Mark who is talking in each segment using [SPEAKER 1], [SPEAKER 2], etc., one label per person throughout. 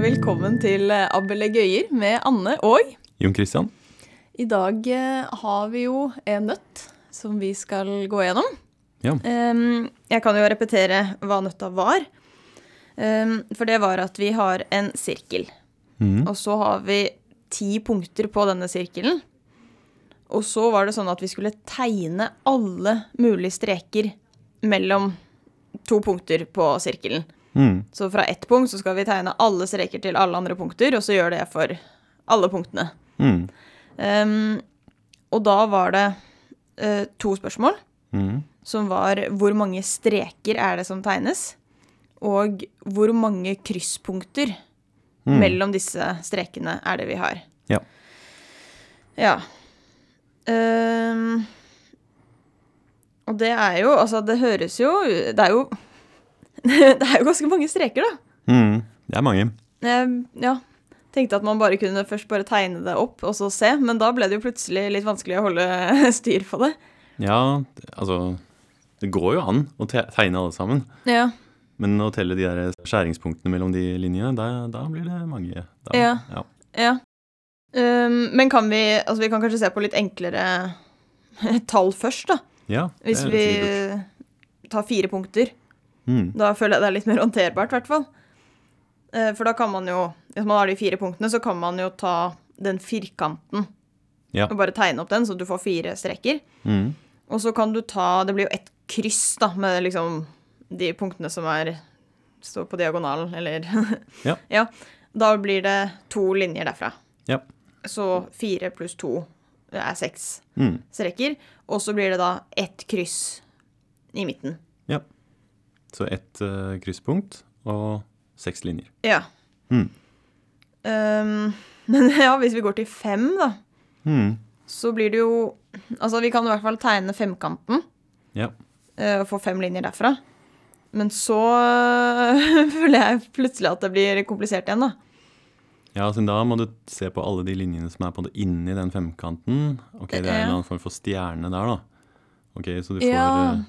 [SPEAKER 1] velkommen til eh, Abbelegøyer med Anne og
[SPEAKER 2] Jon Christian?
[SPEAKER 1] I dag eh, har vi jo en nøtt som vi skal gå gjennom.
[SPEAKER 2] Ja.
[SPEAKER 1] Ehm, jeg kan jo repetere hva nøtta var. Ehm, for det var at vi har en sirkel. Og så har vi ti punkter på denne sirkelen. Og så var det sånn at vi skulle tegne alle mulige streker mellom to punkter på sirkelen.
[SPEAKER 2] Mm.
[SPEAKER 1] Så fra ett punkt så skal vi tegne alle streker til alle andre punkter, og så gjør det for alle punktene.
[SPEAKER 2] Mm.
[SPEAKER 1] Ehm, og da var det eh, to spørsmål,
[SPEAKER 2] Mm.
[SPEAKER 1] som var hvor mange streker er det som tegnes, og hvor mange krysspunkter mellom disse strekene er det vi har.
[SPEAKER 2] Ja.
[SPEAKER 1] Ja. Ehm, og det er jo Altså, det høres jo Det er jo Det er jo ganske mange streker, da.
[SPEAKER 2] Mm. Det er mange.
[SPEAKER 1] Eh, ja. Tenkte at man bare kunne først bare tegne det opp og så se, men da ble det jo plutselig litt vanskelig å holde styr på det.
[SPEAKER 2] Ja, det- altså Det går jo an å te tegne alle sammen.
[SPEAKER 1] Ja.
[SPEAKER 2] Men å telle de der skjæringspunktene mellom de linjene, da, da blir det mange. Da,
[SPEAKER 1] Ja.
[SPEAKER 2] ja.
[SPEAKER 1] ja. Um, men kan vi Altså, vi kan kanskje se på litt enklere tall først, da.
[SPEAKER 2] Ja, det
[SPEAKER 1] Hvis
[SPEAKER 2] er
[SPEAKER 1] vi
[SPEAKER 2] sikkert lurt.
[SPEAKER 1] tar fire punkter.
[SPEAKER 2] Mm.
[SPEAKER 1] Da føler jeg det er litt mer håndterbart, i hvert fall. Eh, For da kan man jo Hvis man har de fire punktene, så kan man jo ta den firkanten
[SPEAKER 2] Ja.
[SPEAKER 1] og bare tegne opp den, så du får fire streker.
[SPEAKER 2] Mm.
[SPEAKER 1] Og så kan du ta Det blir jo ett kryss, da, med liksom de punktene som er står på diagonalen, eller
[SPEAKER 2] Ja.
[SPEAKER 1] Da blir det to linjer derfra.
[SPEAKER 2] Ja.
[SPEAKER 1] Så fire pluss to det er seks
[SPEAKER 2] Mm.
[SPEAKER 1] streker. Og så blir det da ett kryss i midten.
[SPEAKER 2] ja. Så ett eh, krysspunkt og seks linjer.
[SPEAKER 1] Ja.
[SPEAKER 2] Mm.
[SPEAKER 1] Ehm, men ja, hvis vi går til fem, da,
[SPEAKER 2] Mm.
[SPEAKER 1] så blir det jo Altså, vi kan i hvert fall tegne femkanten.
[SPEAKER 2] Ja.
[SPEAKER 1] eh, og får fem linjer derfra. Men så føler jeg plutselig at det blir komplisert igjen, da.
[SPEAKER 2] Ja, så da må du se på alle de linjene som er på det inni den femkanten. Ok, det er en
[SPEAKER 1] Ja.
[SPEAKER 2] eller annen form for stjerne der, da. Ok, så du får,
[SPEAKER 1] Ja.
[SPEAKER 2] eh,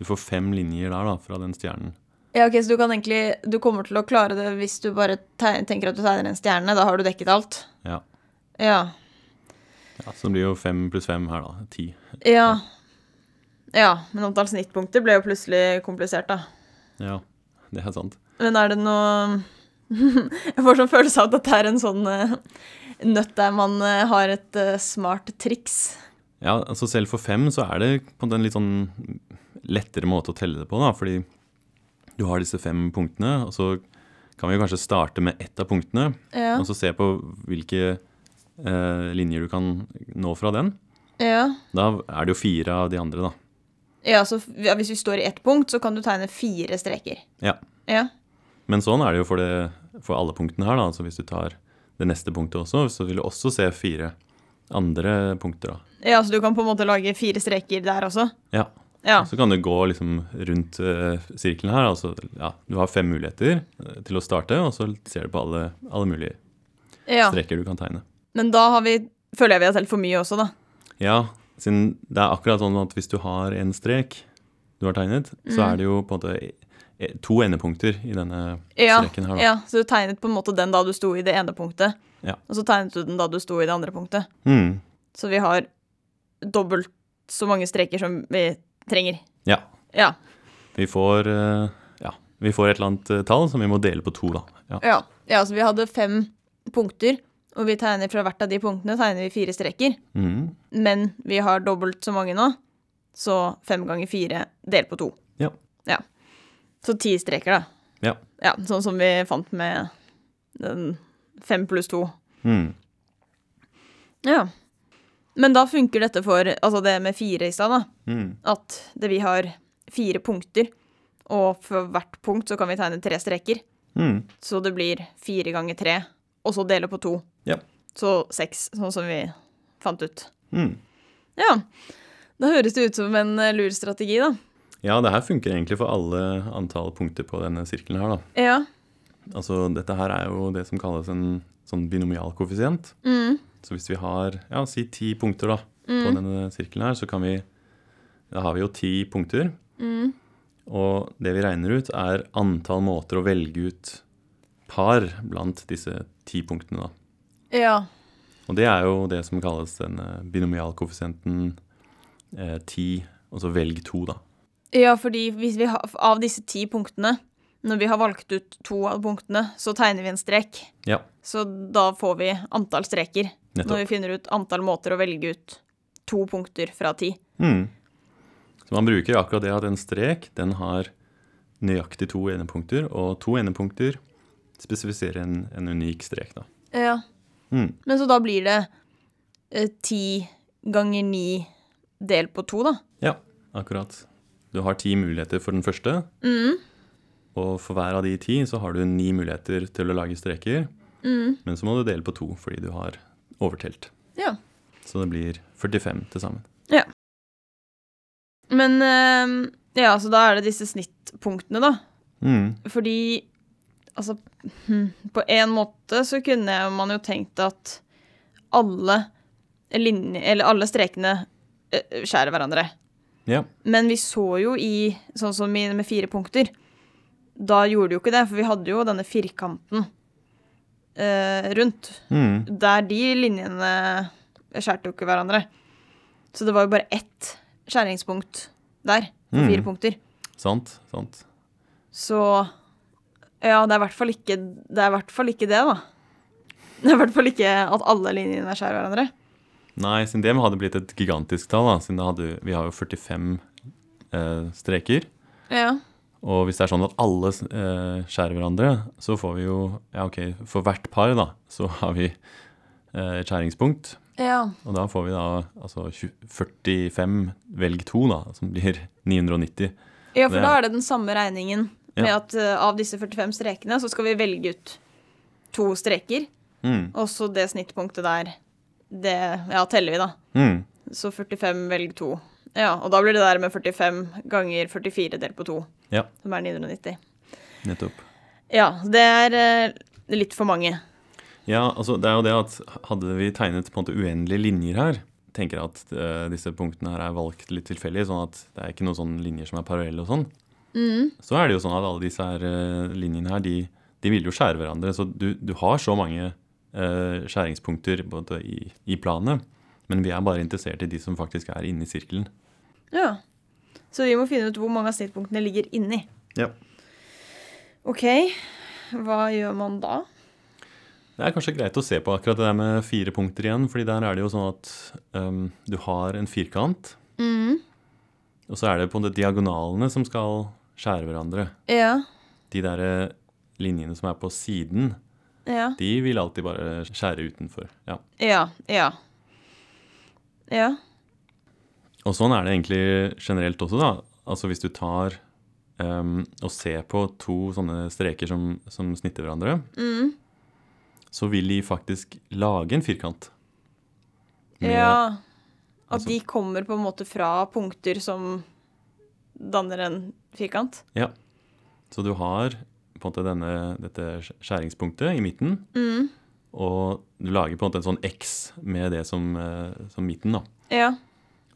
[SPEAKER 2] du får fem linjer der, da, fra den stjernen.
[SPEAKER 1] Ja, ok, Så du kan egentlig Du kommer til å klare det hvis du bare teg- tenker at du tegner en stjerne. Da har du dekket alt.
[SPEAKER 2] Ja.
[SPEAKER 1] Ja.
[SPEAKER 2] ja så det blir jo fem pluss fem her, da. Ti.
[SPEAKER 1] Ja. Ja, men antall snittpunkter ble jo plutselig komplisert, da.
[SPEAKER 2] Ja, det er sant.
[SPEAKER 1] Men er det noe Jeg får sånn følelse av at dette er en sånn eh, nøtt der man eh, har et eh, smart triks.
[SPEAKER 2] Ja, altså selv for fem så er det på en litt sånn lettere måte å telle det på, da. Fordi du har disse fem punktene, og så kan vi jo kanskje starte med ett av punktene.
[SPEAKER 1] Ja.
[SPEAKER 2] Og så se på hvilke eh, linjer du kan nå fra den.
[SPEAKER 1] Ja.
[SPEAKER 2] Da er det jo fire av de andre, da.
[SPEAKER 1] Ja, så f- ja, hvis vi står i ett punkt, så kan du tegne fire streker.
[SPEAKER 2] Ja,
[SPEAKER 1] Ja.
[SPEAKER 2] Men sånn er det jo for, det, for alle punktene her. da, altså Hvis du tar det neste punktet også, så vil du også se fire andre punkter. da.
[SPEAKER 1] ja, så du kan på en måte lage fire streker der også?
[SPEAKER 2] Ja.
[SPEAKER 1] Ja.
[SPEAKER 2] Så kan du gå liksom rundt eh, sirkelen her. altså ja, Du har fem muligheter eh, til å starte, og så ser du på alle, alle mulige
[SPEAKER 1] ja.
[SPEAKER 2] streker du kan tegne.
[SPEAKER 1] Men da har vi, føler jeg vi har telt for mye også, da.
[SPEAKER 2] Ja, siden det er akkurat sånn at hvis du har en strek du har tegnet, så er det jo på en måte eh, to endepunkter i denne
[SPEAKER 1] Ja,
[SPEAKER 2] streken her. da.
[SPEAKER 1] ja, Så du tegnet på en måte den da du sto i det ene punktet,
[SPEAKER 2] Ja.
[SPEAKER 1] og så tegnet du den da du sto i det andre punktet.
[SPEAKER 2] Mm,
[SPEAKER 1] Så vi har dobbelt så mange streker som vi trenger.
[SPEAKER 2] ja.
[SPEAKER 1] Ja.
[SPEAKER 2] Vi får, eh, ja, vi får et eller annet eh, tall som vi må dele på to, da. Ja.
[SPEAKER 1] Ja, ja så vi hadde fem punkter, og vi tegner fra hvert av de punktene tegner vi fire streker.
[SPEAKER 2] Mhm.
[SPEAKER 1] Men vi har dobbelt så mange nå, så fem ganger fire delt på to.
[SPEAKER 2] ja.
[SPEAKER 1] Ja. Så ti streker, da.
[SPEAKER 2] ja.
[SPEAKER 1] Ja, sånn som vi fant med den fem pluss to.
[SPEAKER 2] Mhm.
[SPEAKER 1] Ja. Men da funker dette for altså det med fire i stad, da.
[SPEAKER 2] Mhm.
[SPEAKER 1] At det vi har fire punkter, og for hvert punkt så kan vi tegne tre streker.
[SPEAKER 2] Mhm.
[SPEAKER 1] Så det blir fire ganger tre, og så dele på to.
[SPEAKER 2] Ja.
[SPEAKER 1] Så seks, sånn som vi fant ut.
[SPEAKER 2] Mhm.
[SPEAKER 1] Ja. Da høres det ut som en eh, lur strategi, da.
[SPEAKER 2] ja, det her funker egentlig for alle antall punkter på denne sirkelen her, da.
[SPEAKER 1] Ja.
[SPEAKER 2] Altså, dette her er jo det som kalles en sånn binomialkoeffisient.
[SPEAKER 1] Mm.
[SPEAKER 2] Så hvis vi har, ja, si ti punkter da, på denne sirkelen her, så kan vi Da har vi jo ti punkter. Og det vi regner ut, er antall måter å velge ut par blant disse ti punktene. Da.
[SPEAKER 1] Ja.
[SPEAKER 2] Og det er jo det som kalles den eh, binomialkoeffisienten eh, 10, og så velg to, da.
[SPEAKER 1] Ja, fordi hvis vi har, av disse ti punktene, når vi har valgt ut to av punktene, så tegner vi en strek.
[SPEAKER 2] Ja,
[SPEAKER 1] Så da får vi antall streker. Når
[SPEAKER 2] nettopp.
[SPEAKER 1] vi finner ut antall måter å velge ut to punkter fra ti.
[SPEAKER 2] Mm. Så man bruker akkurat det at en strek den har nøyaktig to endepunkter, og to endepunkter spesifiserer en, en unik strek, da.
[SPEAKER 1] Ja.
[SPEAKER 2] Mm.
[SPEAKER 1] Men så da blir det eh, ti ganger ni delt på to, da.
[SPEAKER 2] Ja, akkurat. Du har ti muligheter for den første.
[SPEAKER 1] Mm.
[SPEAKER 2] Og for hver av de ti så har du ni muligheter til å lage streker. Men så må du dele på to fordi du har overtelt.
[SPEAKER 1] Mm. Ja.
[SPEAKER 2] Så det blir 45 til sammen.
[SPEAKER 1] Men eh, Ja, så da er det disse snittpunktene, da.
[SPEAKER 2] Mm.
[SPEAKER 1] Fordi Altså, hm, på en måte så kunne jeg- man jo tenkt at alle linje, Eller alle strekene eh, skjærer hverandre.
[SPEAKER 2] Ja.
[SPEAKER 1] Men vi så jo i Sånn som i, med fire punkter. Da gjorde det jo ikke det, for vi hadde jo denne firkanten eh, rundt.
[SPEAKER 2] Mm.
[SPEAKER 1] Der de linjene skjærte jo ikke hverandre. Så det var jo bare ett skjæringspunkt der, for
[SPEAKER 2] Mm.
[SPEAKER 1] fire punkter.
[SPEAKER 2] Sant. Sant.
[SPEAKER 1] Så Ja, det er i hvert fall ikke det, er i hvert fall ikke det da. Det er i hvert fall ikke at alle linjene skjærer hverandre.
[SPEAKER 2] Nei, siden det hadde blitt et gigantisk tall, da, siden det hadde, vi har jo 45 eh, streker.
[SPEAKER 1] Ja.
[SPEAKER 2] Og hvis det er sånn at alle eh, skjærer hverandre, så får vi jo Ja, OK, for hvert par, da, så har vi eh, et skjæringspunkt.
[SPEAKER 1] ja.
[SPEAKER 2] Og da får vi da altså 20 45 velg 2, da, som blir 990.
[SPEAKER 1] Ja, for
[SPEAKER 2] Det-
[SPEAKER 1] da er det den samme regningen med
[SPEAKER 2] Ja.
[SPEAKER 1] at eh, av disse 45 strekene så skal vi velge ut to streker,
[SPEAKER 2] Mm.
[SPEAKER 1] og så det snittpunktet der, det Ja, teller vi, da.
[SPEAKER 2] Mm.
[SPEAKER 1] Så 45 velg 2. Ja, og da blir det der med 45 ganger 44 delt på 2,
[SPEAKER 2] Ja,
[SPEAKER 1] som er 990.
[SPEAKER 2] nettopp.
[SPEAKER 1] Ja, det er eh, litt for mange.
[SPEAKER 2] Ja, altså det er jo det at hadde vi tegnet på en måte uendelige linjer her, tenker jeg at eh, disse punktene her er valgt litt tilfeldig, sånn at det er ikke noen sånne linjer som er parallelle og sånn, så er det jo sånn at alle disse her eh, linjene her, de, de vil jo skjære hverandre. Så du, du har så mange eh, skjæringspunkter på en måte i, i planet, men vi er bare interessert i de som faktisk er inne i sirkelen.
[SPEAKER 1] Ja. Så vi må finne ut hvor mange av snittpunktene ligger inni.
[SPEAKER 2] Ja.
[SPEAKER 1] OK, hva gjør man da?
[SPEAKER 2] Det er kanskje greit å se på akkurat det der med fire punkter igjen, fordi der er det jo sånn at øhm, du har en firkant, og så er det på de diagonalene som skal skjære hverandre.
[SPEAKER 1] Ja.
[SPEAKER 2] De der eh, linjene som er på siden,
[SPEAKER 1] Ja.
[SPEAKER 2] de vil alltid bare skjære utenfor. Ja.
[SPEAKER 1] Ja. Ja. ja.
[SPEAKER 2] Og sånn er det egentlig generelt også, da. Altså hvis du tar øhm, og ser på to sånne streker som, som snitter hverandre,
[SPEAKER 1] mm.
[SPEAKER 2] så vil de faktisk lage en firkant. Med-
[SPEAKER 1] ja. At
[SPEAKER 2] altså-
[SPEAKER 1] de kommer på en måte fra punkter som danner en firkant?
[SPEAKER 2] Ja. Så du har på en måte denne, dette skjæringspunktet i midten,
[SPEAKER 1] Mm.
[SPEAKER 2] og du lager på en måte en sånn X med det som, eh, som midten. da.
[SPEAKER 1] Ja.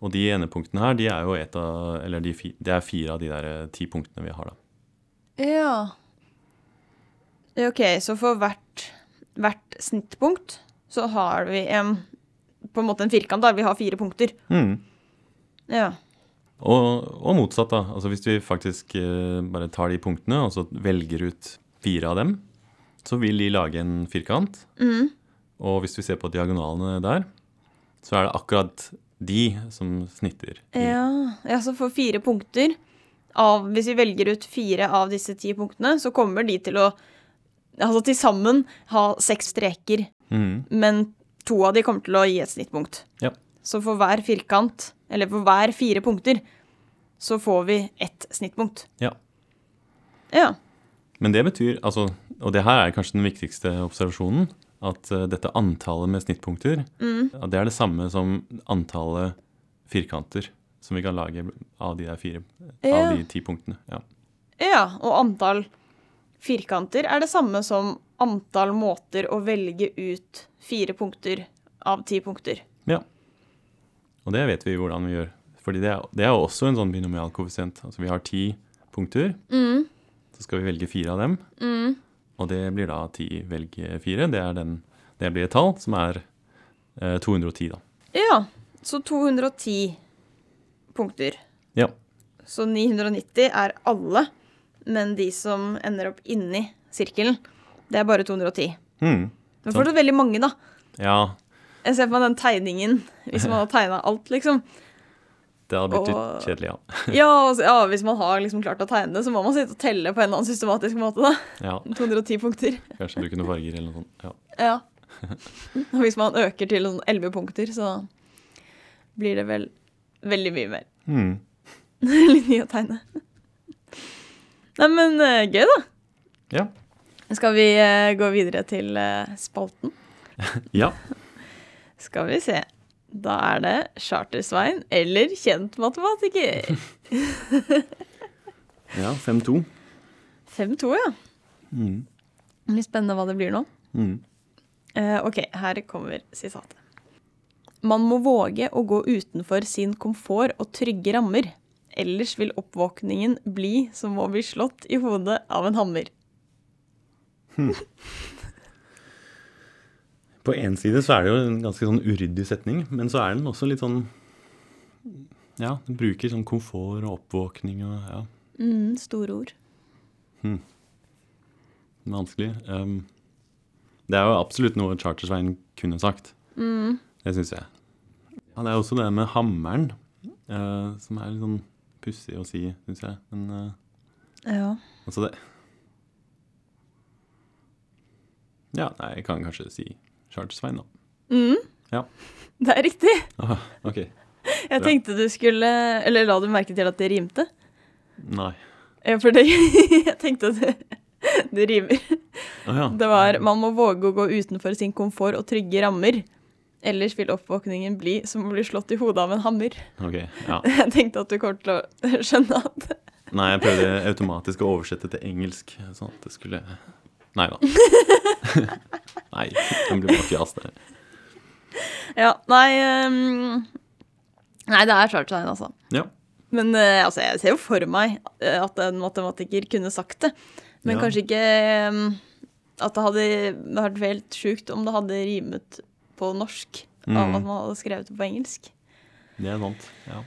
[SPEAKER 2] Og de endepunktene her, de er jo et av, eller de, fi- det er fire av de der eh, ti punktene vi har. da.
[SPEAKER 1] Ja. OK, så for hvert, hvert snittpunkt så har vi en på en måte en firkant, da. Vi har fire punkter.
[SPEAKER 2] Mm.
[SPEAKER 1] Ja.
[SPEAKER 2] Og, og motsatt, da. Altså Hvis vi faktisk eh, bare tar de punktene og så velger ut fire av dem, så vil de lage en firkant. Og hvis vi ser på diagonalene der, så er det akkurat de som snitter. i-
[SPEAKER 1] Ja, ja så for fire punkter av, Hvis vi velger ut fire av disse ti punktene, så kommer de til å Altså til sammen ha seks streker,
[SPEAKER 2] Mhm.
[SPEAKER 1] men to av de kommer til å gi et snittpunkt.
[SPEAKER 2] Ja.
[SPEAKER 1] Så for hver firkant, eller for hver fire punkter, så får vi ett snittpunkt.
[SPEAKER 2] ja.
[SPEAKER 1] Ja.
[SPEAKER 2] Men det betyr, altså, og det her er kanskje den viktigste observasjonen, at eh, dette antallet med snittpunkter, at det er det samme som antallet firkanter som vi kan lage av de der fire,
[SPEAKER 1] Ja.
[SPEAKER 2] av de ti punktene. Ja.
[SPEAKER 1] ja. Og antall firkanter er det samme som antall måter å velge ut fire punkter av ti punkter.
[SPEAKER 2] ja. Og det vet vi jo hvordan vi gjør. Fordi det er, det er jo også en sånn binomialkoeffisient. Altså vi har ti punkter, så skal vi velge fire av dem. Og det blir da 10 velg 4. Det, er den, det blir et tall som er eh, 210, da.
[SPEAKER 1] Ja, så 210 punkter.
[SPEAKER 2] Ja.
[SPEAKER 1] Så 990 er alle, men de som ender opp inni sirkelen, det er bare 210.
[SPEAKER 2] Hmm.
[SPEAKER 1] Men fortsatt veldig mange, da.
[SPEAKER 2] Ja,
[SPEAKER 1] Jeg ser for meg den tegningen, hvis man har tegna alt, liksom.
[SPEAKER 2] det hadde blitt
[SPEAKER 1] Og-
[SPEAKER 2] litt kjedelig, ja.
[SPEAKER 1] Ja, og så- ja, hvis man har liksom klart å tegne det, så må man sitte og telle på en eller annen systematisk måte, da.
[SPEAKER 2] ja.
[SPEAKER 1] 210 punkter.
[SPEAKER 2] Kanskje du kunne farger eller noe sånt. Ja.
[SPEAKER 1] Ja. Og hvis man øker til sånn 11 punkter, så blir det vel veldig mye mer.
[SPEAKER 2] Hmm.
[SPEAKER 1] Litt mye å tegne. Nei, men eh, gøy, da.
[SPEAKER 2] Ja.
[SPEAKER 1] Skal vi eh, gå videre til eh, spalten?
[SPEAKER 2] ja.
[SPEAKER 1] Skal vi se. Da er det Charter-Svein eller kjent matematiker.
[SPEAKER 2] ja 5-2.
[SPEAKER 1] 5-2, ja.
[SPEAKER 2] Mm.
[SPEAKER 1] Litt spennende hva det blir nå.
[SPEAKER 2] Mm.
[SPEAKER 1] Eh, ok, her kommer sitatet. Man må våge å gå utenfor sin komfort og trygge rammer. Ellers vil oppvåkningen bli som å bli slått i hodet av en hammer.
[SPEAKER 2] På én side så er det jo en ganske sånn uryddig setning, men så er den også litt sånn Ja, den bruker sånn komfort og oppvåkning og ja,
[SPEAKER 1] Mm, store ord.
[SPEAKER 2] vanskelig. Ehm, det er jo absolutt noe Chartersveien kunne sagt. Det syns jeg. Ja, det er også det med hammeren, eh, som er litt sånn pussig å si, syns jeg. Men eh,
[SPEAKER 1] Ja.
[SPEAKER 2] altså, det Ja, nei, jeg kan kanskje si Chartersveien, da. Ja.
[SPEAKER 1] Det er riktig.
[SPEAKER 2] Ah, ok.
[SPEAKER 1] Jeg
[SPEAKER 2] Bra.
[SPEAKER 1] tenkte du skulle Eller la du merke til at det rimte?
[SPEAKER 2] Nei.
[SPEAKER 1] Ja, for det, jeg tenkte at det, det rimer.
[SPEAKER 2] Å ja.
[SPEAKER 1] Det var Man må våge å gå utenfor sin komfort og trygge rammer. Ellers vil oppvåkningen bli som å bli slått i hodet av en hammer.
[SPEAKER 2] Ok, ja.
[SPEAKER 1] Jeg tenkte at du kommer til å skjønne at
[SPEAKER 2] Nei, jeg prøvde automatisk å oversette til engelsk, sånn at det skulle Nei da. Nei, det blir bare fjas, det.
[SPEAKER 1] Ja, nei ehm, Nei, det er Charterstein, altså.
[SPEAKER 2] Ja.
[SPEAKER 1] Men eh, altså, jeg ser jo for meg eh, at en matematiker kunne sagt det. Men
[SPEAKER 2] Ja.
[SPEAKER 1] kanskje ikke ehm, at det hadde det hadde vært helt sjukt om det hadde rimet på norsk av
[SPEAKER 2] Mm.
[SPEAKER 1] at man hadde skrevet det på engelsk.
[SPEAKER 2] Det er sant. Ja.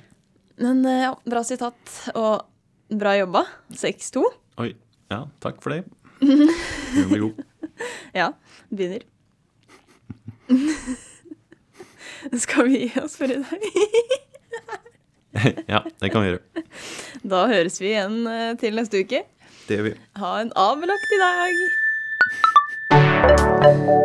[SPEAKER 1] Men eh, ja, bra sitat og bra jobba. 6-2.
[SPEAKER 2] Oi. Ja, takk for det. Den blir god.
[SPEAKER 1] Ja, begynner. Skal vi gi oss for i dag?
[SPEAKER 2] Ja, det kan vi gjøre.
[SPEAKER 1] Da høres vi igjen eh, til neste uke.
[SPEAKER 2] Det gjør vi.
[SPEAKER 1] Ha en avbelagt i dag!